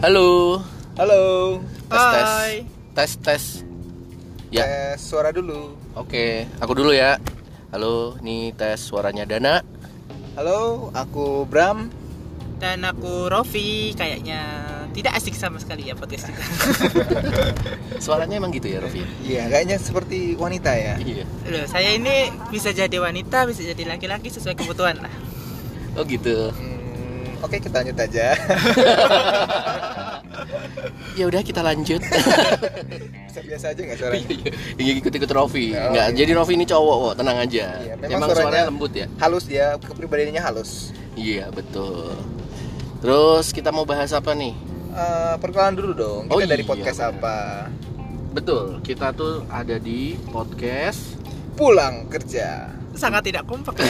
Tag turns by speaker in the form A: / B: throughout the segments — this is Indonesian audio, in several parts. A: Halo.
B: Halo.
A: Tes tes.
C: Hai.
A: Tes tes. Ya,
B: Tes Eh, suara dulu.
A: oke. Aku dulu ya. Halo, ini tes suaranya Dana.
B: Halo, aku Bram.
C: Dan aku Rofi kayaknya tidak asik sama sekali ya podcast kita.
A: Suaranya emang gitu ya, Rofi?
B: Iya, kayaknya seperti wanita ya.
A: Iya.
C: Loh, saya ini bisa jadi wanita, bisa jadi laki-laki sesuai kebutuhan lah.
A: Oh gitu.
B: Hmm, Oke, kita lanjut aja.
A: Ya udah kita lanjut.
B: Bisa biasa aja nggak suaranya?
A: Iya ikut-ikut Rofi.
B: Oh,
A: Enggak,
B: iya.
A: jadi Rofi ini cowok kok, tenang aja.
B: Iya,
A: emang, suaranya... lembut ya?
B: Halus ya, kepribadiannya halus.
A: Iya, betul. Terus kita mau bahas apa nih?
B: Eh, perkenalan dulu dong. Kita
A: Oh
B: dari
A: iya,
B: podcast
A: benar.
B: apa?
A: Betul, kita tuh ada di podcast
B: Pulang kerja.
C: Sangat tidak kompak ya.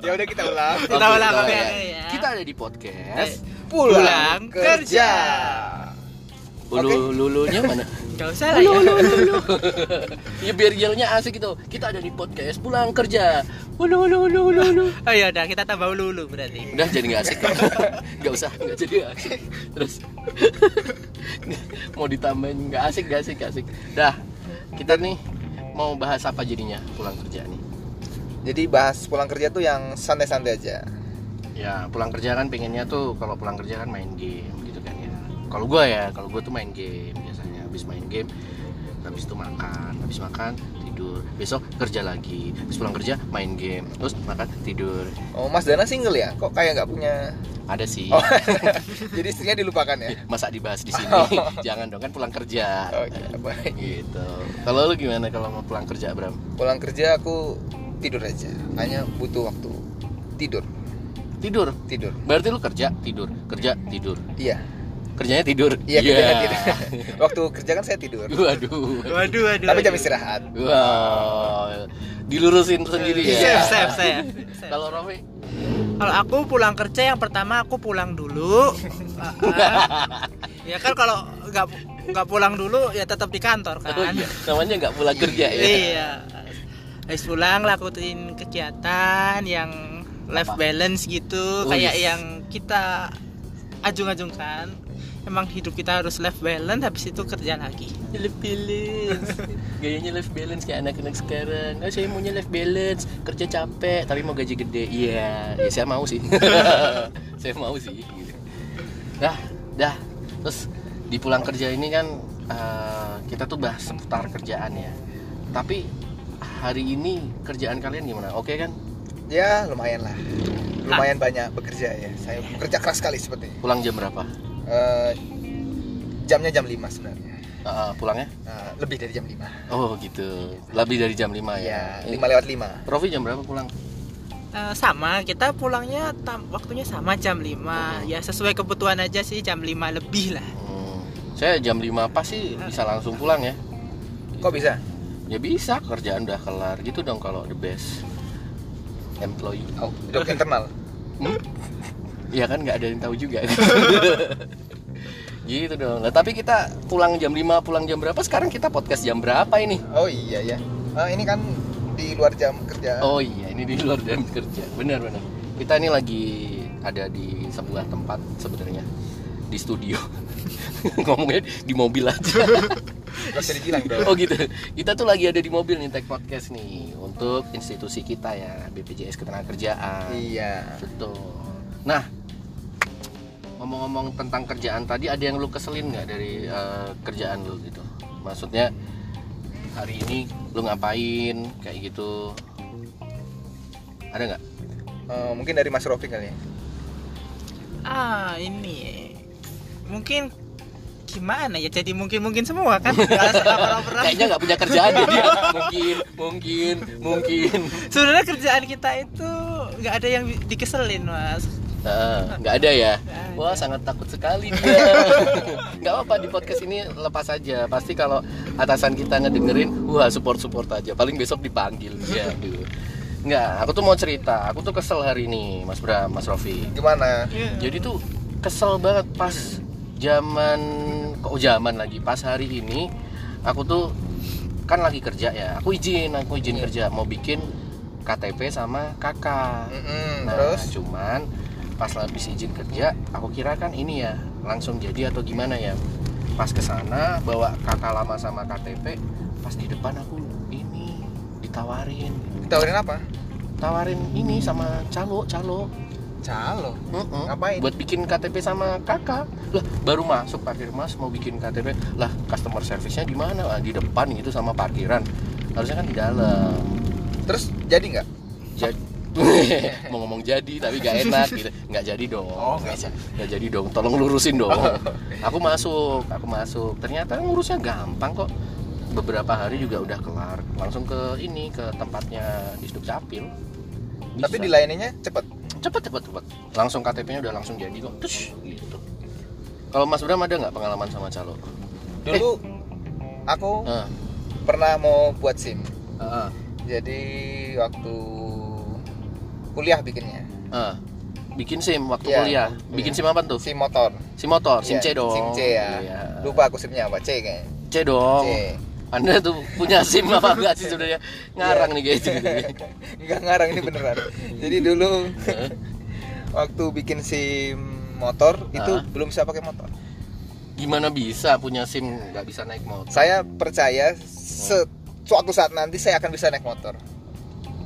B: Ya udah kita ulang.
C: Kita
A: Oke,
C: ulang,
A: kita-
C: oke, ya.
A: Kita ada di podcast.
B: Pulang,
C: Pulang
B: kerja.
C: kerja.
A: Ulu lulunya mana?
C: Gak usah lah ya.
A: ya biar yelnya asik gitu. Kita ada di podcast pulang kerja. Ulu ulu ulu ulu ulu.
C: Oh ya udah kita tambah lulu berarti.
A: Udah jadi nggak asik. Nggak usah nggak jadi nggak asik. Terus mau ditambahin nggak asik nggak asik nggak asik. Dah kita nih mau bahas apa jadinya pulang kerja nih.
B: Jadi bahas pulang kerja tuh yang santai-santai aja.
A: Ya pulang kerja kan pengennya tuh kalau pulang kerja kan main game gitu kan ya. Kalau gue ya kalau gue tuh main game biasanya habis main game habis itu makan habis makan tidur besok kerja lagi habis pulang kerja main game terus makan tidur
B: Oh, Mas Dana single ya? Kok kayak nggak punya?
A: ada sih
B: Oh, jadi istrinya dilupakan ya?
A: masa dibahas di sini jangan dong kan pulang kerja
B: Oh, iya, baik.
A: gitu kalau lu gimana kalau mau pulang kerja Bram
B: pulang kerja aku tidur aja hanya butuh waktu tidur
A: tidur
B: tidur
A: berarti lu kerja tidur kerja tidur
B: iya
A: kerjanya tidur
B: iya
A: Iya.
B: kerjaan tidur waktu kerja kan saya tidur
A: waduh
C: Waduh, waduh.
B: tapi jam
C: waduh.
B: istirahat
A: wow dilurusin sendiri ya
C: Iya, Save, save, save. Save. Nah,
A: kalau Rofi
C: Kalau aku pulang kerja yang pertama aku pulang dulu. Ah, ah. ya kan kalau nggak nggak pulang dulu ya tetap di kantor kan.
A: oh, iya. namanya nggak pulang kerja ya
C: Iya. Habis pulang lakuin kegiatan yang life
A: Apa?
C: balance gitu,
A: Oh,
C: kayak
A: yes.
C: yang kita ajung-ajungkan. Emang hidup kita harus life balance habis itu kerja lagi.
A: life balance gayanya life balance kayak anak-anak sekarang oh, saya maunya life balance kerja capek tapi mau gaji gede iya ya, saya mau sih saya mau sih gitu. dah dah terus di pulang kerja ini kan eh, kita tuh bahas seputar kerjaan ya tapi hari ini kerjaan kalian gimana oke kan
B: ya lumayan lah
A: Ah.
B: lumayan banyak bekerja ya saya bekerja keras sekali sepertinya
A: pulang jam berapa
B: Eh, jamnya jam 5 sebenarnya
A: Eh, eh, pulangnya
B: Eh, lebih dari jam 5
A: oh gitu lebih dari jam 5 ya,
B: ya 5 lewat 5
A: Rofi jam berapa pulang
C: Eh, sama, kita pulangnya tam- waktunya sama jam 5. Ya sesuai kebutuhan aja sih jam 5 lebih lah.
A: Hmm, saya jam 5 pas sih bisa langsung pulang ya.
B: kok bisa
A: Ya bisa, kerjaan udah kelar gitu dong kalau the best employee.
B: oh dok internal
A: Hmm? Ya kan nggak ada yang tahu juga. gitu dong. Lah tapi kita pulang jam 5, pulang jam berapa? Sekarang kita podcast jam berapa ini?
B: oh iya ya Eh, ini kan di luar jam kerja
A: Oh iya, ini di luar jam kerja. Benar benar. Kita ini lagi ada di sebuah tempat sebenarnya di studio. Ngomongnya di mobil aja.
B: nggak bisa dibilang dong
A: Oh gitu. Kita tuh lagi ada di mobil nih Tech Podcast nih untuk institusi kita ya BPJS Ketenagakerjaan.
B: iya
A: Betul. Nah, ngomong-ngomong tentang kerjaan tadi ada yang lu keselin nggak dari eh, kerjaan lu gitu? Maksudnya hari ini lu ngapain kayak gitu? Ada nggak?
B: Eh, mungkin dari Mas Rofi kali ya
C: Ah, ini. Mungkin gimana ya? Jadi mungkin-mungkin semua kan. Nggak usah lapar-laparan.
A: Kayaknya nggak punya kerjaan ya dia. Mungkin, mungkin, mungkin.
C: sebenarnya kerjaan kita itu nggak ada yang dikeselin mas
A: Eh, nggak ada ya
C: Nggak ada.
A: wah sangat takut sekali dia nggak apa di podcast ini lepas aja pasti kalau atasan kita ngedengerin wah support support aja paling besok dipanggil dia Aduh. nggak aku tuh mau cerita aku tuh kesel hari ini mas Bram mas Rofi
B: gimana
A: jadi tuh kesel banget pas zaman kok zaman lagi pas hari ini aku tuh kan lagi kerja ya aku izin aku izin kerja mau bikin KTP sama kakak
B: Mm-mm,
A: Nah,
B: terus
A: cuman pas habis izin kerja, aku kira kan ini ya langsung jadi atau gimana ya pas ke sana bawa kakak lama sama KTP pas di depan aku ini ditawarin
B: Ditawarin apa?
A: tawarin ini sama calo calo
B: Calo.
A: Mm-mm.
B: Ngapain?
A: buat bikin KTP sama kakak lah baru masuk parkir mas mau bikin KTP lah customer service-nya di mana lah di depan itu sama parkiran harusnya kan di dalam
B: Terus jadi nggak?
A: jadi mau ngomong jadi tapi gak enak gitu nggak jadi dong
B: Oh, nggak jadi. Oh.
A: nggak jadi dong tolong lurusin dong aku masuk aku masuk ternyata ngurusnya gampang kok beberapa hari juga udah kelar langsung ke ini ke tempatnya di Sdukcapil Bisa.
B: Tapi dilayaninya cepet.
A: cepet cepet cepet langsung KTP-nya udah langsung jadi kok terus gitu kalau Mas Bram ada nggak pengalaman sama calo Eh.
B: Dulu aku
A: Nah,
B: pernah mau buat SIM.
A: ah,
B: Jadi waktu kuliah bikinnya.
A: ah. bikin SIM waktu
B: Iya,
A: kuliah
B: waktu
A: bikin
B: kuliah.
A: SIM apa tuh
B: SIM motor.
A: SIM motor SIM
B: Iya,
A: C dong
B: SIM C ya.
A: Iya. Oh.
B: Lupa aku SIM-nya apa, C kayaknya.
A: C dong
B: C.
A: Anda tuh punya SIM apa enggak sih sebenarnya? Ngarang nih guys gitu.
B: Iya. Enggak ngarang ini beneran. Jadi dulu
A: Eh.
B: waktu bikin SIM motor itu
A: Ah.
B: belum bisa pakai motor.
A: Gimana bisa punya SIM nggak bisa naik motor?
B: Saya percaya se- suatu saat nanti saya akan bisa naik motor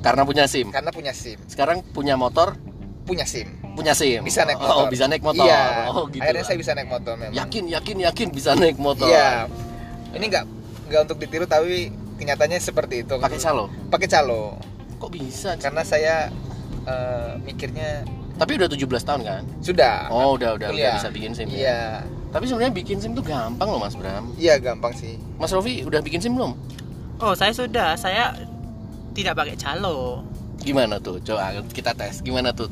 A: Karena punya SIM.
B: karena punya SIM,
A: Sekarang punya motor,
B: punya SIM.
A: punya SIM.
B: Bisa naik
A: Oh,
B: motor.
A: bisa naik motor.
B: Iya.
A: Oh, gitu.
B: Akhirnya
A: lah.
B: saya bisa naik motor memang.
A: Yakin, yakin, yakin bisa naik motor.
B: Iya. Ini enggak enggak untuk ditiru tapi kenyataannya seperti itu.
A: Pakai calo.
B: Pakai calo.
A: Kok bisa? Ci?
B: Karena saya eh, mikirnya
A: Tapi udah 17 tahun kan?
B: sudah.
A: Oh, udah udah, udah
B: Kuliah.
A: bisa bikin SIM. ya?
B: Iya.
A: Tapi sebenarnya bikin SIM tuh gampang loh Mas Bram.
B: Iya gampang sih.
A: Mas Rofi udah bikin SIM belum?
C: Oh, saya sudah. Saya tidak pakai calo.
A: Gimana tuh? Coba kita tes. Gimana tuh?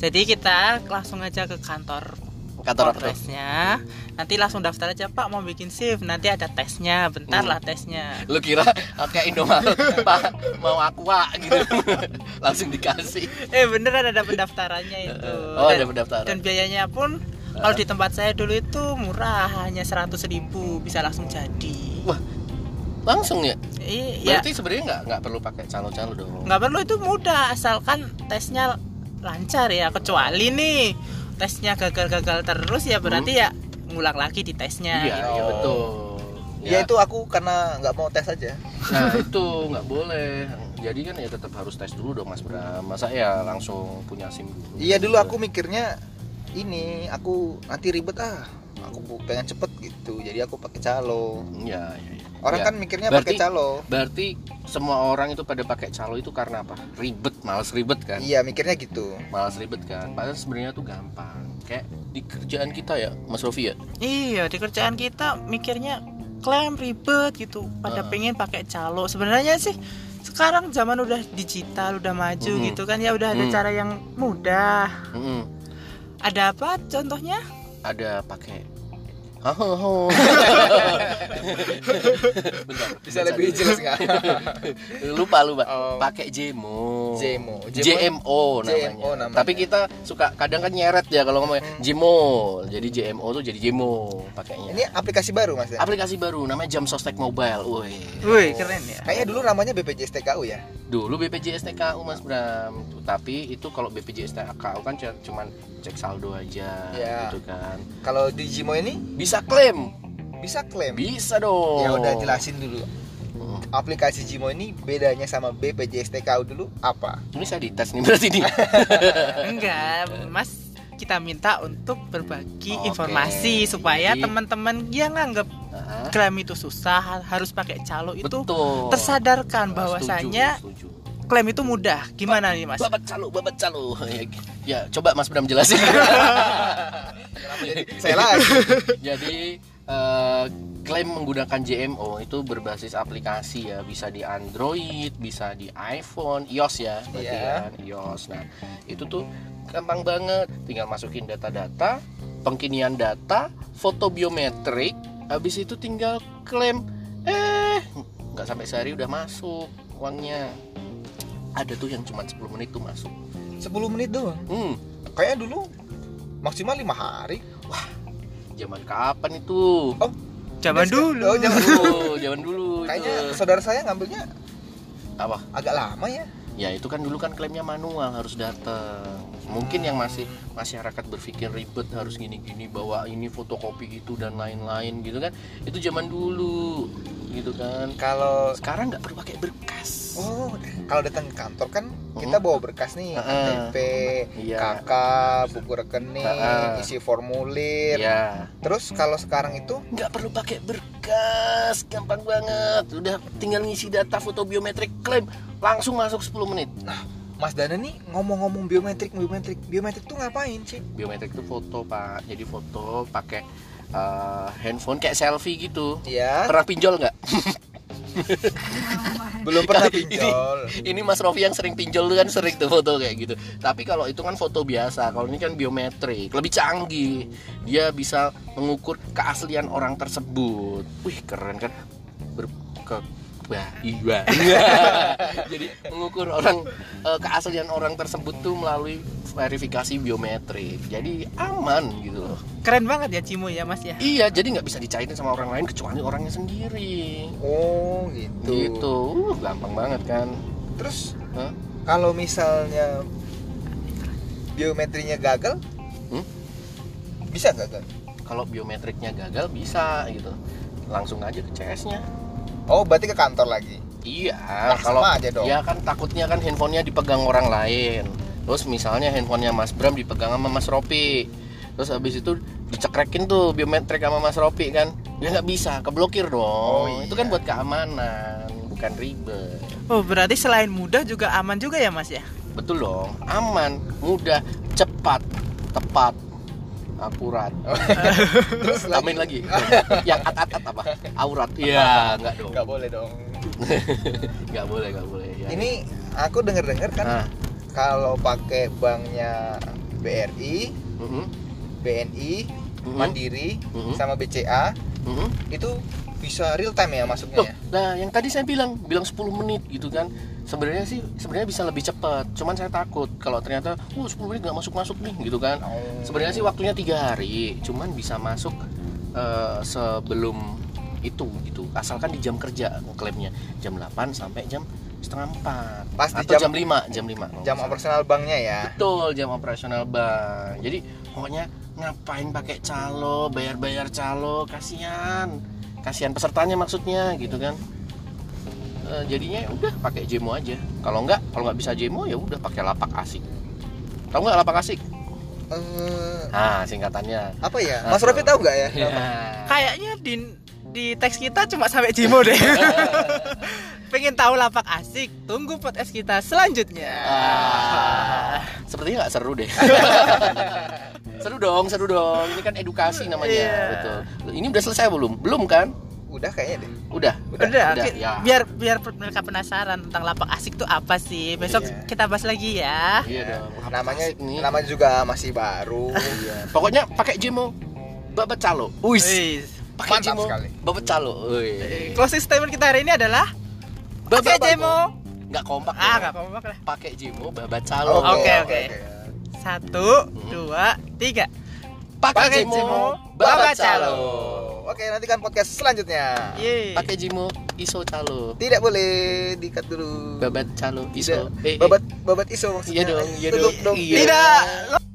C: Jadi kita langsung aja ke kantor
A: Kantor apa tuh?
C: Polresnya. Nanti langsung daftar aja, Pak, mau bikin shift. Nanti ada tesnya. Bentar
A: Hmm.
C: lah tesnya.
A: lu kira kayak Indomaret pak mau aqua gitu langsung dikasih
C: Eh, beneran ada pendaftarannya itu.
A: oh
C: Dan-
A: ada pendaftaran Ah.
C: dan biayanya pun kalau di tempat saya dulu itu murah hanya 100.000 ribu bisa langsung jadi
A: wah langsung ya Nah,
C: iya
A: berarti sebenarnya nggak nggak perlu pakai calo-calo dong
C: nggak perlu itu mudah asalkan tesnya lancar ya kecuali nih tesnya gagal-gagal terus ya berarti ya ngulang lagi di tesnya
A: Hmm. iya
C: gitu.
A: iya betul
B: Ya.
A: Iya.
B: itu aku karena nggak mau tes aja.
A: nah itu nggak boleh jadi kan ya tetap harus tes dulu dong mas Bram masa ya langsung punya sim dulu
B: Iya dulu aku mikirnya ini aku nanti ribet ah. Aku bu- pengen cepet gitu. Jadi aku pakai calo.
A: iya iya iya.
B: Orang
A: Iya.
B: kan mikirnya
A: Berarti-
B: pakai calo.
A: berarti semua orang itu pada pakai calo itu karena apa ribet males ribet kan
B: Iya mikirnya gitu.
A: malas ribet kan padahal sebenarnya tuh gampang kayak di kerjaan kita ya Mas Rofi ya
C: iya di kerjaan kita mikirnya klaim ribet gitu pada
A: Heeh.
C: pengen pakai calo sebenarnya sih sekarang zaman udah digital udah maju
A: Mm-mm.
C: gitu kan ya udah ada
A: Mm.
C: cara yang mudah
A: Mm-mm.
C: ada apa contohnya
A: ada pakai Hahaha. Bentar,
B: Bisa
A: baca
B: lebih
A: dulu.
B: jelas kan? nggak?
A: lupa lupa
B: Oh.
A: pakai JMO
B: JMO.
A: JMO namanya.
B: JMO namanya.
A: tapi kita suka kadang kan nyeret ya kalau ngomongnya
B: Hmm.
A: JMO jadi JMO tuh jadi JMO pakainya
B: Ini aplikasi baru mas ya?
A: aplikasi baru namanya Jam Sostek Mobile woi
C: Wih keren ya
B: Kayaknya dulu namanya BPJS TKU ya?
A: dulu BPJS TKU Mas Bram tapi itu kalau BPJS TKU kan c- cuman cek saldo aja
B: Iya.
A: gitu kan
B: Kalau di Jimo ini
A: bisa klaim
B: bisa klaim.
A: bisa dong
B: Ya udah jelasin dulu.
A: Hmm.
B: Aplikasi Jimo ini bedanya sama BPJS TKU dulu apa?
A: ini saya dites nih berarti nih
C: Enggak, Mas kita minta untuk berbagi
A: Oh, Oke.
C: informasi supaya
A: Jadi-
C: teman-teman ya yang nganggap
A: Nah,
C: klaim itu susah ha- harus pakai calo itu
A: betul
C: tersadarkan
A: Setuju,
C: bahwasannya
A: setuju.
C: klaim itu mudah. Gimana nih Mas?
A: babat calo babat calo ya, ya, coba Mas Bram jelasin
B: Saya lagi.
A: Jadi eh, klaim menggunakan JMO itu berbasis aplikasi ya, bisa di Android, bisa di iPhone, iOS ya, berarti
B: Iya.
A: kan, iOS. Nah, itu tuh gampang banget, tinggal masukin data-data, pengkinian data, foto biometrik, habis itu tinggal klaim. Eh, nggak sampai sehari udah masuk uangnya. Ada tuh yang cuma 10 menit tuh masuk.
B: 10 menit doang.
A: Hmm,
B: Kayaknya dulu maksimal lima hari.
A: zaman kapan itu?
C: Zaman
B: Oh,
C: dulu.
B: jangan.
A: Oh, zaman dulu itu.
B: Kayaknya saudara saya ngambilnya
A: apa?
B: agak lama ya.
A: ya itu kan dulu kan klaimnya manual harus datang mungkin yang masih masyarakat berpikir ribet harus gini-gini bawa ini fotokopi itu dan lain-lain gitu kan itu zaman dulu gitu kan
B: Kalau
A: sekarang nggak perlu pakai berkas
B: oh, kalau datang ke kantor kan kita bawa berkas nih,
A: Hmm. Heeh.
B: KTP,
A: iya
B: KK, buku rekening,
A: Heeh.
B: isi formulir.
A: iya
B: Terus kalau sekarang itu
A: nggak perlu pakai berkas gampang banget udah tinggal ngisi data foto biometrik klaim langsung masuk 10 menit
B: Mas Dana nih ngomong-ngomong biometrik, biometrik, biometrik tuh ngapain sih?
A: biometrik itu foto pak jadi foto pakai eh, handphone kayak selfie gitu
B: Ya,
A: pernah pinjol nggak
B: belum pernah
A: Kali ini.
B: pinjol.
A: ini Mas Rofi yang sering pinjol tuh kan sering tuh foto kayak gitu tapi kalau itu kan foto biasa kalau ini kan biometrik lebih canggih dia bisa mengukur keaslian orang tersebut wih keren kan berke Wah, iya. Jadi mengukur orang eh, keaslian orang tersebut tuh melalui verifikasi biometrik. Jadi aman gitu loh.
C: Keren banget ya Cimo ya Mas ya.
A: Iya, jadi nggak bisa dicairin sama orang lain kecuali orangnya sendiri.
B: Oh, gitu.
A: Gitu, Uh, gampang banget kan.
B: Terus
A: Hah?
B: kalau misalnya biometrinya gagal,
A: Hmm?
B: bisa gagal?
A: Kalau biometriknya gagal bisa gitu, langsung aja ke CS-nya.
B: Oh, berarti ke kantor lagi.
A: Iya,
B: Nah,
A: kalau
B: sama aja dong.
A: ya kan takutnya kan handphonenya dipegang orang lain. Terus misalnya handphonenya Mas Bram dipegang sama Mas Ropi. Terus habis itu dicekrekin tuh biometrik sama Mas Ropi kan. Dia nggak bisa, keblokir dong.
B: Oh, iya.
A: Itu kan buat keamanan, bukan ribet.
C: Oh, berarti selain mudah juga aman juga ya Mas ya.
A: Betul dong, aman, mudah, cepat, tepat, akurat.
B: Terus
A: Tambahin lagi. Yang at-at apa? Aurat. Iya, enggak dong.
B: Gak boleh dong.
A: Enggak boleh, enggak boleh. Ya.
B: Ini aku denger-dengar kan
A: Nah,
B: kalau pakai banknya BRI,
A: mhm,
B: BNI,
A: mhm,
B: Mandiri,
A: mhm,
B: sama BCA
A: mhm.
B: itu bisa real time ya
A: Loh,
B: masuknya ya?
A: nah yang tadi saya bilang bilang 10 menit gitu kan sebenarnya sih sebenarnya bisa lebih cepat cuman saya takut kalau ternyata oh 10 menit nggak masuk masuk nih gitu kan
B: Oh.
A: sebenarnya sih waktunya tiga hari cuman bisa masuk eh, sebelum itu gitu asalkan di jam kerja klaimnya jam 8 sampai jam setengah empat
B: Pas di
A: atau jam,
B: jam-
A: 5 jam 5
B: jam operasional banknya ya.
A: betul jam operasional bang jadi pokoknya ngapain pakai calo bayar-bayar calo kasihan kasihan pesertanya maksudnya gitu kan Eh, jadinya ya udah pakai jemo aja kalau nggak kalau nggak bisa jemo ya udah pakai lapak asik tahu nggak lapak asik
B: Eh,
A: nah singkatannya
B: apa ya? Mas Rofi tahu nggak ya?
A: Ya.
C: Kayaknya di di teks kita cuma sampai Cimo deh. Pengen tahu lapak asik? Tunggu podcast kita selanjutnya.
A: Ah, sepertinya nggak seru deh. seru dong, seru dong. Ini kan edukasi namanya,
C: Iya.
A: betul. Ini udah selesai belum? Belum kan?
B: Udah kayaknya deh.
A: Udah.
C: Udah, ki-
A: ya.
C: biar biar mereka penasaran tentang lapak asik itu apa sih. Besok
B: Iya.
C: kita bahas lagi ya.
A: Iya dong. Apa
B: Namanya
A: asik nih?
B: namanya juga masih baru.
A: Iya. Pokoknya pakai jemo babat calo. Wis.
C: Wih.
A: Pakai
B: mantap
A: jemo
B: sekali.
A: babat calo. Wih.
C: Closing statement kita hari ini adalah
A: Babat
C: Pakai jemo.
A: Enggak kompak.
C: Ah,
A: ya.
C: nggak apa-apa lah.
A: Pakai jemo babat calo.
C: Oke, oke.
B: oke.
C: Satu, dua, tiga.
A: Pakai
C: Pakai jemo,
A: jemo babat
C: babat calo.
A: calo. Iya.
B: Oke, nantikan podcast selanjutnya.
C: Yeay.
A: Pakai jemo iso calo.
B: Tidak boleh dikat dulu.
A: Babat calo iso.
B: Tidak.
C: Iya.
A: Eh, eh.
B: Babat babat iso maksudnya.
A: Iya dong, iya
B: Tutup
A: dong. Iya.
C: Tidak.